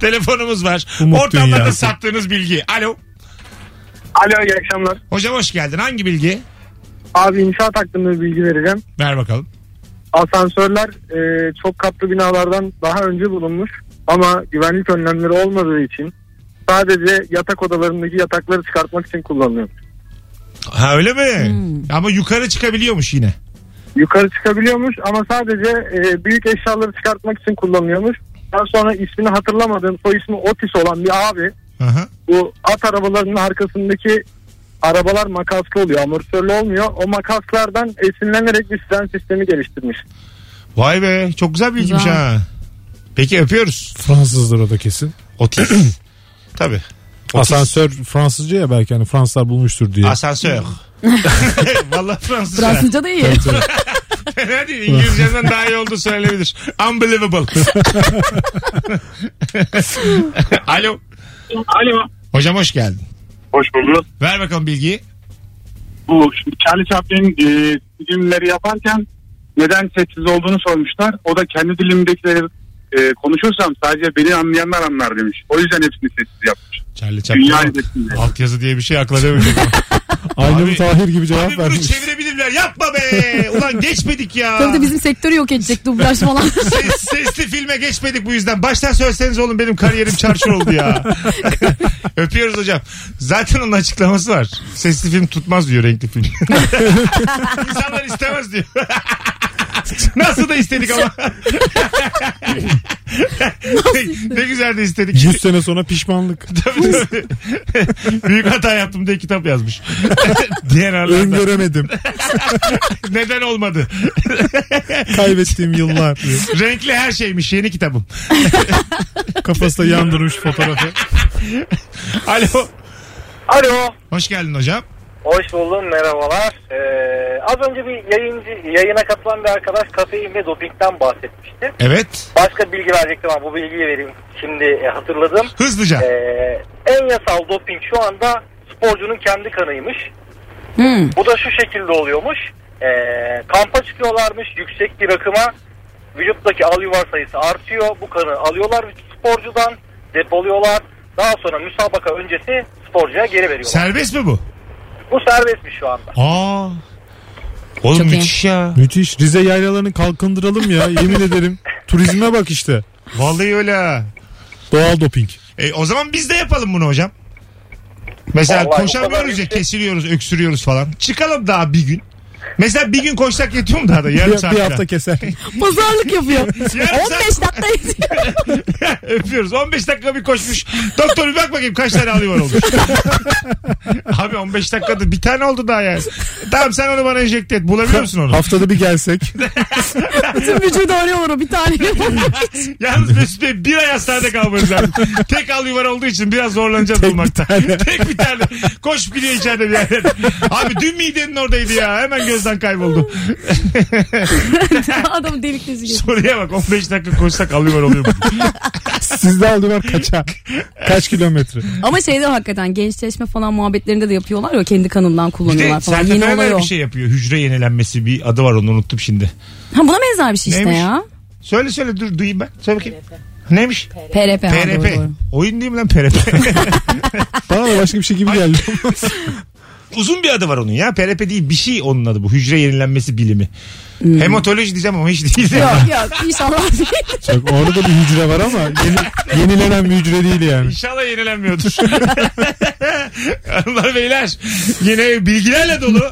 Telefonumuz var.
Umut
Ortamlarda
dünyası.
sattığınız bilgi. Alo.
Alo iyi akşamlar.
Hocam hoş geldin. Hangi bilgi?
Abi inşaat hakkında bir bilgi vereceğim.
Ver bakalım.
Asansörler e, çok katlı binalardan daha önce bulunmuş ama güvenlik önlemleri olmadığı için sadece yatak odalarındaki yatakları çıkartmak için kullanılıyor.
Ha öyle mi?
Hmm.
Ama yukarı çıkabiliyormuş yine.
Yukarı çıkabiliyormuş ama sadece e, büyük eşyaları çıkartmak için kullanıyormuş. Daha sonra ismini hatırlamadığım soy ismi Otis olan bir abi
Aha.
bu at arabalarının arkasındaki arabalar makaslı oluyor. Amortisörlü olmuyor. O makaslardan esinlenerek bir fren sistemi geliştirmiş.
Vay be çok güzel bilgiymiş
Güzel.
ha. Peki öpüyoruz.
Fransızdır o da kesin.
Otis. Tabii. Otis.
Asansör Fransızca ya belki hani Fransızlar bulmuştur diye. [laughs]
Asansör. Vallahi Fransızca.
Fransızca da iyi.
Fena değil. İngilizceden daha iyi olduğu söylenebilir. Unbelievable. [laughs] Alo.
Alo.
Hocam hoş geldin.
Hoş bulduk.
Ver bakalım bilgiyi.
Bu şimdi Charlie Chaplin'in e, filmleri yaparken neden sessiz olduğunu sormuşlar. O da kendi dilimdekileri e, konuşursam sadece beni anlayanlar anlar demiş. O yüzden hepsini sessiz yapmış.
Charlie
Dünya
Chaplin.
izlesinde.
Altyazı diye bir şey akla demedim. [laughs]
Aynı
Abi-
bir Tahir gibi cevap
Abi bunu
vermiş.
çevirebilirler. Yapma be. Ulan geçmedik ya.
Tabii de bizim sektörü yok edecek dublaj falan.
Ses- sesli filme geçmedik bu yüzden. Baştan söyleseniz oğlum benim kariyerim çarçur oldu ya. Öpüyoruz hocam. Zaten onun açıklaması var. Sesli film tutmaz diyor renkli film. İnsanlar istemez diyor. [laughs] Nasıl da istedik ama. ne, ne güzel de istedik.
100 sene sonra pişmanlık.
[laughs] Tabii, tabii. Büyük hata yaptım diye kitap yazmış. [laughs] Diğer aralarda.
Öngöremedim.
Neden olmadı? [laughs]
Kaybettiğim yıllar. diyor.
Renkli her şeymiş yeni kitabım.
Kafası da yandırmış fotoğrafı.
Alo.
Alo.
Hoş geldin hocam.
Hoş buldum merhabalar. Ee, az önce bir yayıncı, yayına katılan bir arkadaş kafein ve dopingden bahsetmişti.
Evet.
Başka bilgi verecektim ama bu bilgiyi vereyim. Şimdi e, hatırladım.
Hızlıca.
Ee, en yasal doping şu anda sporcunun kendi kanıymış.
Hmm.
Bu da şu şekilde oluyormuş. Ee, kampa çıkıyorlarmış yüksek bir rakıma. Vücuttaki al yuvar sayısı artıyor. Bu kanı alıyorlar sporcudan depoluyorlar. Daha sonra müsabaka öncesi sporcuya geri veriyorlar.
Serbest mi bu?
Bu serbestmiş şu anda.
Aa. Oğlum
Çok iyi.
müthiş ya.
Müthiş. Rize yaylalarını kalkındıralım ya. Yemin ederim. Turizme bak işte.
Vallahi öyle. ha.
Doğal doping.
E, o zaman biz de yapalım bunu hocam. Mesela
Vallahi o kadar
koşamıyoruz ya
yüksek.
kesiliyoruz öksürüyoruz falan. Çıkalım daha bir gün. Mesela bir gün koşsak yetiyor mu daha da
Bir,
yarım
bir
saat? falan?
hafta keser.
Pazarlık yapıyor. 15
Yarım saat-
dakika yetiyor.
[laughs] Öpüyoruz. 15 dakika bir koşmuş. Doktor bir bak bakayım kaç tane alıyor olmuş. [laughs] Abi 15 dakikada bir tane oldu daha yani. Tamam sen onu bana enjekte et. Bulabiliyor musun onu?
Haftada bir gelsek.
Bütün vücudu arıyorlar o bir tane.
Yalnız Mesut Bey bir ay hastanede kalmanız lazım. Tek al yuvar olduğu için biraz zorlanacağız bulmakta. [laughs] Tek bir tane. Koş gidiyor içeride bir yerde. Abi dün midenin oradaydı ya. Hemen gözden kayboldu.
Adam delik dizi gibi.
Soruya bak 15 dakika koşsak al yuvar
[laughs]
oluyor mu?
Sizde aldılar kaça? Kaç kilometre?
Ama şeyde hakikaten gençleşme falan muhabbetlerinde de yapıyorlar ya kendi kanından
Bir de
kullanıyorlar falan.
Sertab
Yeni olay
Erener
o.
bir şey yapıyor. Hücre yenilenmesi bir adı var onu unuttum şimdi.
Ha, buna benzer bir şey işte
Neymiş?
ya.
Söyle söyle dur duyayım ben. Söyle bakayım. Neymiş?
PRP. ha, doğru,
PRP.
doğru.
Oyun değil mi lan PRP?
Bana da başka bir şey gibi geldi.
[laughs] Uzun bir adı var onun ya. PRP değil bir şey onun adı bu. Hücre yenilenmesi bilimi.
Hmm.
Hematoloji diyeceğim ama hiç değil.
Yok yok
[laughs]
inşallah değil.
Bak orada da bir hücre var ama yeni- yenilenen bir hücre değil yani.
İnşallah yenilenmiyordur. [laughs] Hanımlar beyler yine bilgilerle dolu [laughs]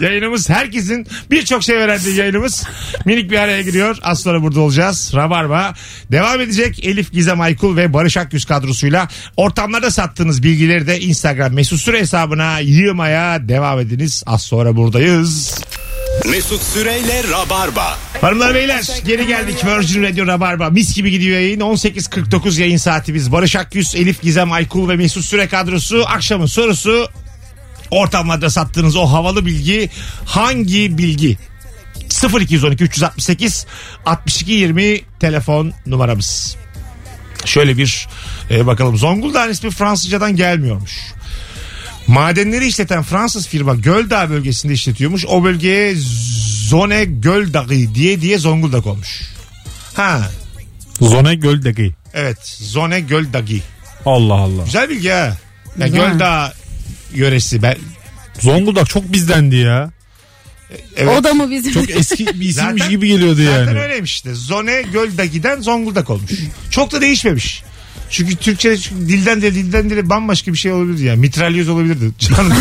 yayınımız herkesin birçok şey öğrendiği yayınımız minik bir araya giriyor. Az sonra burada olacağız. Rabarba devam edecek. Elif Gizem Aykul ve Barış Akgüz kadrosuyla ortamlarda sattığınız bilgileri de Instagram mesut süre hesabına yığmaya devam ediniz. Az sonra buradayız.
Mesut Süreyle Rabarba.
Hanımlar beyler geri geldik Virgin Radio Rabarba mis gibi gidiyor yayın 18.49 yayın saatimiz Barış Akyüz, Elif Gizem Aykul ve Mesut Süre kadrosu akşamın sorusu ortamlarda sattığınız o havalı bilgi hangi bilgi 0212 368 62 20 telefon numaramız şöyle bir e, bakalım Zonguldak'ın ismi Fransızcadan gelmiyormuş Madenleri işleten Fransız firma Göldağ bölgesinde işletiyormuş. O bölgeye Zone Göldağı diye diye Zonguldak olmuş. Ha
Zona Göldegi.
evet Zone Göldağı.
Allah Allah.
Güzel bilgi ha. Yani
Güzel.
Göldağ yöresi. Ben,
Zonguldak çok bizdendi ya.
evet.
O da mı bizim?
Çok eski bir isimmiş
Zaten-
gibi geliyordu
Zaten
yani.
öyleymiş işte. Zone Göldagi'den Zonguldak olmuş. Çok da değişmemiş. Çünkü Türkçe çünkü dilden dile dilden dile bambaşka bir şey olabilirdi yani. Mitralyoz olabilirdi. [laughs] Canım.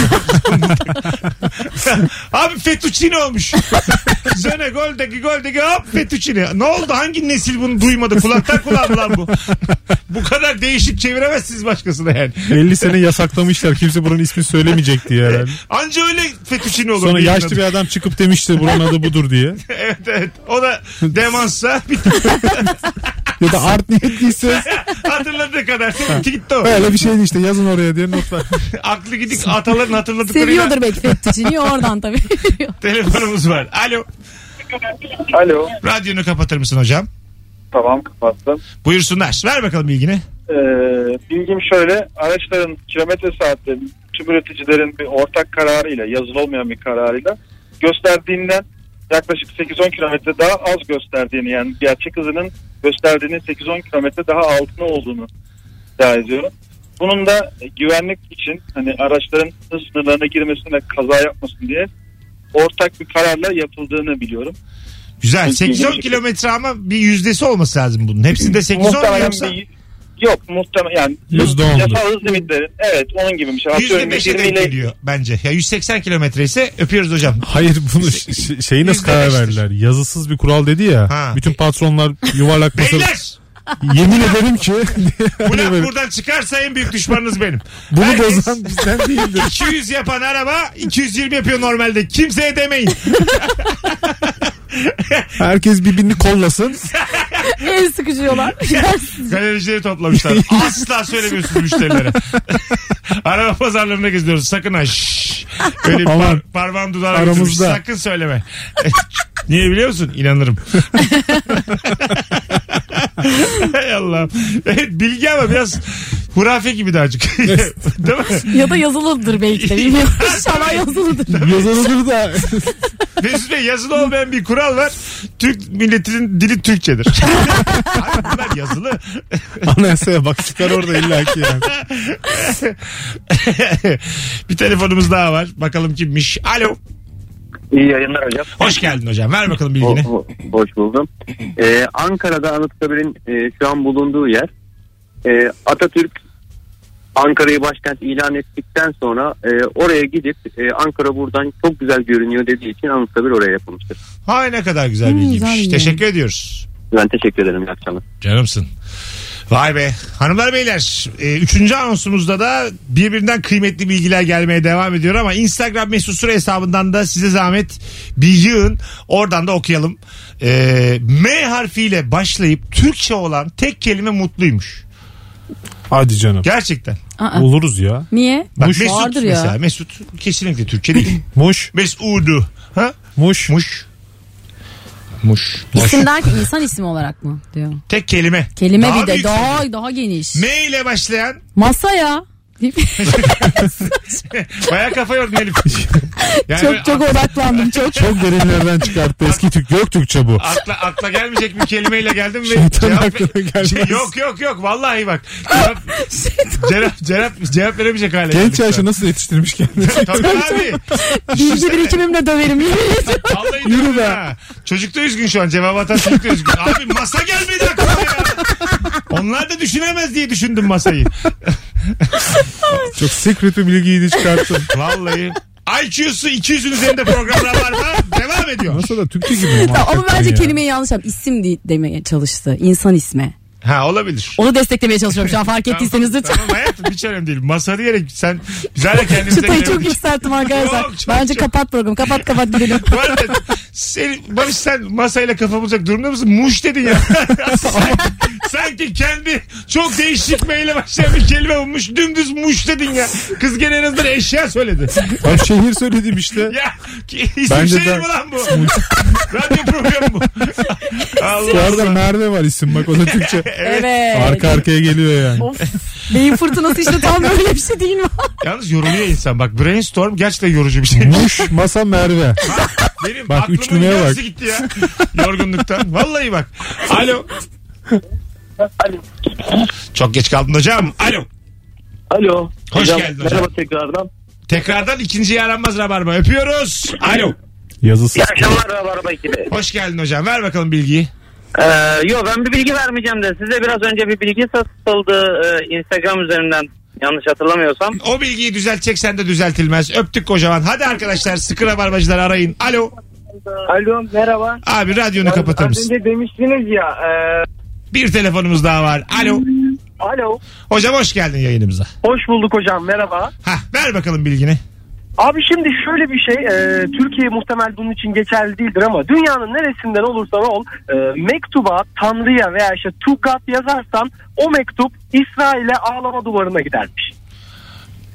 Abi fettuccine olmuş. [laughs] Zöne goldeki goldeki hop fettuccine. Ne oldu? Hangi nesil bunu duymadı? Kulaktan kulağa mı lan bu? [laughs] bu kadar değişik çeviremezsiniz başkasına yani.
50 sene yasaklamışlar. Kimse buranın ismini söylemeyecek diye herhalde.
Anca öyle fettuccine olur.
Sonra
Bir
yaşlı
adı.
bir adam çıkıp demişti buranın adı budur diye.
[laughs] Evet evet. O da demansa
Ya da art niyetliyse
[laughs] hatırladığı kadar. Seninki gitti o.
öyle bir şeydi işte yazın oraya diye not ver.
Aklı gidik ataların hatırladıklarıyla
Seviyordur belki fettuccini oradan tabii. [laughs]
telefonumuz var. Alo.
Alo.
Radyonu kapatır mısın hocam?
Tamam kapattım.
Buyursunlar. Ver bakalım bilgini.
Ee, bilgim şöyle araçların kilometre saatlerinin tüm üreticilerin bir ortak kararıyla yazılı olmayan bir kararıyla gösterdiğinden yaklaşık 8-10 kilometre daha az gösterdiğini yani gerçek hızının gösterdiğinin 8-10 kilometre daha altına olduğunu iddia ediyorum. Bunun da e, güvenlik için hani araçların hız sınırlarına girmesine ve kaza yapmasın diye ortak bir kararla yapıldığını biliyorum.
Güzel.
Çok
8-10
ilginç.
kilometre ama bir yüzdesi olması lazım bunun. Hepsinde 8-10 mu
Muhtemelen
yoksa?
bir- Yok muhtemelen yani
Yüzde ondur.
yasal hız limitleri evet onun gibi bir şey. Atıyorum
%5'e
20
denk
ile-
geliyor bence. Ya 180 kilometre ise öpüyoruz hocam.
Hayır bunu ş- şeyi nasıl karar
Yüzde
verdiler? Yazısız bir kural dedi ya.
Şey- Ha.
Bütün patronlar yuvarlak masa.
Beyler!
Yemin ederim ki.
Bu laf
Hani böyle,
buradan çıkarsa en büyük düşmanınız benim.
bunu
Herkes-
bozan bizden değildir.
200 yapan araba 220 yapıyor normalde. Kimseye demeyin.
Herkes birbirini kollasın.
El
[laughs]
sıkışıyorlar.
Galericileri toplamışlar. Asla söylemiyorsunuz müşterilere. Araba pazarlarına geziyoruz. Sakın ha. şşş. Böyle bir
Aman.
par- parmağın dudağına
Aramızda.
götürmüş. Sakın söyleme. E, Niye biliyor musun? İnanırım. Hay Allah'ım. Evet, bilgi ama biraz hurafe gibi de azıcık. Değil mi?
ya da yazılıdır belki de bilmiyorum. [laughs] İnşallah yazılıdır.
Yazılıdır da.
Mesut Bey yazılı olmayan bir kural var. Türk milletinin dili Türkçedir. [laughs] Abi bunlar yazılı. [laughs]
Anayasaya bak çıkar orada illaki yani.
bir telefonumuz daha var. Bakalım kimmiş. Alo.
İyi yayınlar hocam.
Hoş geldin hocam. Ver bakalım bilgini.
Ho- ho- hoş buldum. Ee, Ankara'da Anıtkabir'in e, şu an bulunduğu yer. Ee, Atatürk Ankara'yı başkent ilan ettikten sonra e, oraya gidip e, Ankara buradan çok güzel görünüyor dediği için Anıtkabir oraya yapılmıştır.
Hay ne kadar güzel
Hmm,
bilgiymiş.
güzel bilgi.
Teşekkür ediyoruz.
Ben teşekkür ederim. İyi akşamlar.
Canımsın. Vay be. Hanımlar beyler. e, üçüncü anonsumuzda da birbirinden kıymetli bilgiler gelmeye devam ediyor ama Instagram mesut süre hesabından da size zahmet bir yığın. Oradan da okuyalım. E, M harfiyle başlayıp Türkçe olan tek kelime mutluymuş.
Hadi canım.
Gerçekten.
Aa,
Oluruz ya.
niye?
Bak
Muş
Mesut
vardır ya.
mesela. Mesut kesinlikle Türkçe
[clears throat]
değil.
Muş.
Mesudu. Ha?
Muş.
Muş. Muş.
İsim derken insan ismi olarak mı diyor.
Tek kelime.
Kelime
Daha
bir de
büyük
daha daha geniş.
M ile başlayan
Masa ya.
baya kafa yordu
[laughs]
Elif. Yani böyle
çok çok
ak-
odaklandım
[laughs]
çok.
Çok derinlerden çıkarttı. Eski Türk. Göktürkçe bu.
akla, akla gelmeyecek bir kelimeyle geldim ve
Şeytanın
cevap-
aklına gelmez.
Şey, yok yok yok vallahi bak. Cevap, cevap, cevap, cevap veremeyecek hale
Genç
geldik şu
yaşta
an.
nasıl yetiştirmiş kendini?
Tabii abi.
Bilgi birikimimle döverim.
Vallahi
Yürü
diyorum
be.
ha. Çocuk da üzgün şu an. Cevap atan çocuk da üzgün. Abi masa gelmedi aklıma ya. Onlar da düşünemez diye düşündüm masayı.
Çok secret bir bilgiyi de çıkarttın.
Vallahi. IQ'su 200'ün üzerinde programlar var mı? Devam ediyor.
Nasıl da Türkçe gibi ama.
Ama
hakikaten
bence
ya.
kelimeyi yanlış yap. İsim değil demeye çalıştı. İnsan ismi.
Ha olabilir.
Onu desteklemeye çalışıyorum şu an fark ettiyseniz lütfen.
Tamam hayatım hiç önemli değil. Masa diyerek sen güzel de kendimize
Çıtayı çok
gelemedik.
yükselttim
Yok,
arkadaşlar.
çok,
Bence
çok.
kapat programı. Kapat kapat
[laughs]
gidelim.
Bu arada senin, Barış sen masayla kafa bulacak durumda mısın? Muş dedin
[laughs]
ya. Sen- Sanki kendi çok değişik meyle başlayan bir kelime bulmuş. Dümdüz muş dedin ya. Kız gene en azından eşya söyledi.
Ay şehir söyledim işte.
Ya ki- isim
Bence
şehir
de-
mi lan bu? Radyo programı
[laughs]
bu.
Bu
Allah
arada
Allah.
Merve var isim bak o da Türkçe.
Evet.
Arka arkaya geliyor yani.
Of. Beyin fırtınası işte
[laughs]
tam böyle bir şey değil mi?
Yalnız yoruluyor insan. Bak brainstorm gerçekten yorucu bir şey.
Muş, masa, Merve.
Benim
Bak,
aklımın
üçlümeye bak.
yarısı gitti ya. Yorgunluktan. Vallahi bak. Alo. Çok geç kaldın hocam. Alo.
Alo.
Hoş geldin hocam.
Merhaba tekrardan.
Tekrardan ikinciyi aranmaz rabarba. Öpüyoruz. Alo.
Yazısı.
akşamlar Rabarba ekibi.
Hoş geldin hocam. Ver bakalım bilgiyi.
Ee, yo ben bir bilgi vermeyeceğim de size biraz önce bir bilgi satıldı e, Instagram üzerinden yanlış hatırlamıyorsam.
O bilgiyi düzelteceksen de düzeltilmez. Öptük kocaman. Hadi arkadaşlar sıkı rabarbacılar arayın. Alo.
Alo merhaba.
Abi radyonu kapatır
Az
mısın?
önce demiştiniz ya. e,
Bir telefonumuz daha var. Alo.
alo.
Hocam hoş geldin yayınımıza.
Hoş bulduk hocam merhaba.
Hah ver bakalım bilgini.
Abi şimdi şöyle bir şey e, Türkiye muhtemel bunun için geçerli değildir ama dünyanın neresinden olursan ol e, mektuba Tanrı'ya veya işte to God yazarsan o mektup İsrail'e ağlama duvarına gidermiş.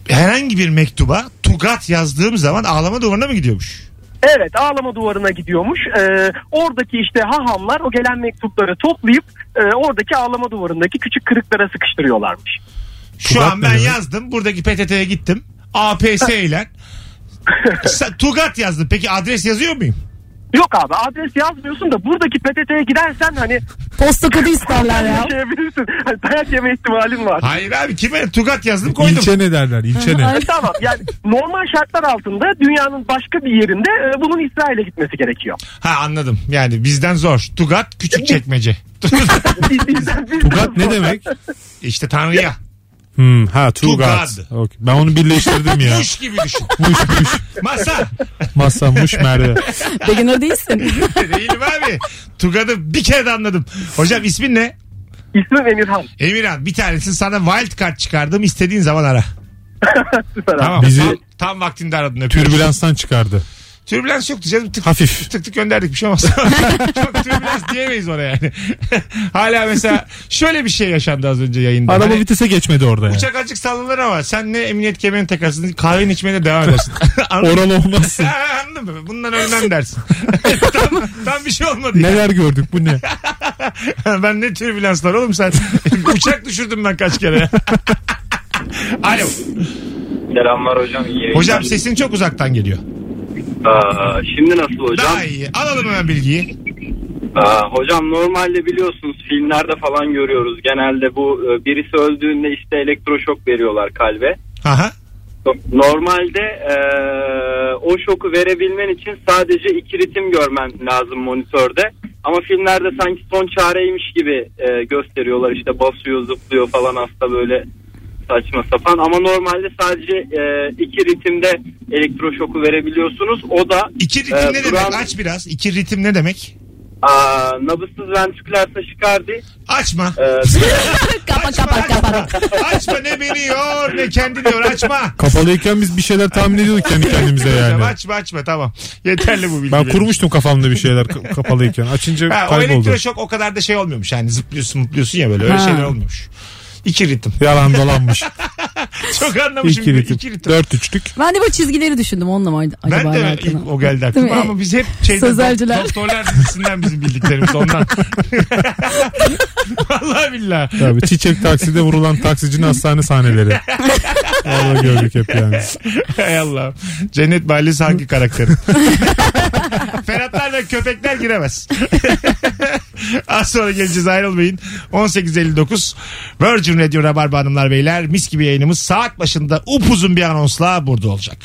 Herhangi bir mektuba Tugat yazdığım zaman ağlama duvarına mı gidiyormuş?
Evet ağlama duvarına gidiyormuş. E, oradaki işte hahamlar o gelen mektupları toplayıp e, oradaki ağlama duvarındaki küçük kırıklara sıkıştırıyorlarmış.
Şu
Tugat
an
ne
ben
demek?
yazdım. Buradaki PTT'ye gittim. APS ile. Sa- Tugat yazdım. Peki adres yazıyor muyum?
Yok abi adres yazmıyorsun da buradaki PTT'ye gidersen hani
Posta kodu isterler ya.
yaşayabilirsin. Hani dayak yeme ihtimalin var.
Hayır abi kime? Tugat yazdım koydum.
İlçe ne derler ilçe
[laughs]
ne?
E, tamam yani normal şartlar altında dünyanın başka bir yerinde e, bunun İsrail'e gitmesi gerekiyor.
Ha anladım. Yani bizden zor. Tugat küçük [laughs] çekmece.
Biz- biz- biz-
Tugat ne demek?
işte Tanrı'ya.
Hmm, ha Tugat.
Tugat.
Okey. Ben onu birleştirdim ya. [laughs]
Kuş gibi düşün.
Muş muş.
Masa.
Masa muş merve.
[laughs]
Beginner değilsin.
Değilim abi. Tugat'ı bir kere de anladım. Hocam ismin ne?
İsmim Emirhan.
Emirhan bir tanesini sana wild card çıkardım. İstediğin zaman [laughs] ara.
Süper abi.
Tamam.
Bizi-
Tam, tam vaktinde aradın. öpüyorum.
Türbülanstan çıkardı.
Türbülans yoktu canım. Tık,
Hafif.
Tık tık gönderdik bir şey olmaz. [laughs] Çok türbülans diyemeyiz ona yani. [laughs] Hala mesela şöyle bir şey yaşandı az önce yayında.
Araba
Hani
vitese geçmedi orada yani.
uçak azıcık sallanır ama sen ne emniyet kemerini takarsın kahveni içmeye de devam
[laughs]
edersin. Anladın mı?
Oral olmazsın.
Ha, Anladın mı? Bundan ölmem
[laughs]
dersin. tam, tam bir şey olmadı. ya.
Neler gördük bu ne?
[laughs] ben ne türbülanslar oğlum
[laughs]
sen. Uçak düşürdüm ben kaç kere. [laughs] Alo.
Selamlar hocam. iyi
Hocam sesin çok uzaktan geliyor.
Aa, şimdi nasıl hocam?
Daha iyi. Alalım hemen bilgiyi.
Aa, hocam normalde biliyorsunuz filmlerde falan görüyoruz. Genelde bu e, birisi öldüğünde işte elektroşok veriyorlar kalbe.
Aha.
Normalde e, o şoku verebilmen için sadece iki ritim görmen lazım monitörde. Ama filmlerde sanki son çareymiş gibi e, gösteriyorlar işte basıyor zıplıyor falan hasta böyle saçma sapan. Ama normalde sadece e, iki ritimde elektroşoku verebiliyorsunuz. O da
İki ritim
Ee,
ne demek?
Kur'an-
Aç biraz. İki ritim ne demek?
aa, nabızsız ventriküler taşikardi.
Açma.
E,
kapa kapa kapa.
Açma ne beni yor ne kendini yor açma.
Kapalıyken biz bir şeyler tahmin ediyorduk kendi kendimize
Hocam
yani.
açma açma tamam. Yeterli bu bilgi.
Ben
benim.
kurmuştum kafamda bir şeyler ka- kapalıyken. Açınca
Ha, o
kayboldu.
elektroşok o kadar da şey olmuyormuş yani zıplıyorsun mutluyorsun ya böyle öyle
Ha.
şeyler olmuyormuş. İki ritim. [laughs]
Yalan dolanmış.
Çok anlamışım.
İki
İki
ritim.
ritim.
Dört üçlük.
Ben de bu çizgileri düşündüm onunla mı acaba
Ben de
alakalı?
ilk o geldi
Değil
aklıma
mi?
ama biz hep şeyden
Sözelciler.
doktorlar dizisinden bizim bildiklerimiz ondan. [laughs] Vallahi billahi.
Tabii çiçek takside vurulan taksicinin
[laughs]
hastane sahneleri. Orada gördük hep yani.
Hay Allah. Cennet Mahallesi hangi karakteri? Ferhatlar ve köpekler giremez. [laughs] Az sonra geleceğiz ayrılmayın. 18.59 Virgin Radio Rabarba Hanımlar Beyler mis gibi yayınımız saat başında upuzun bir anonsla burada olacak.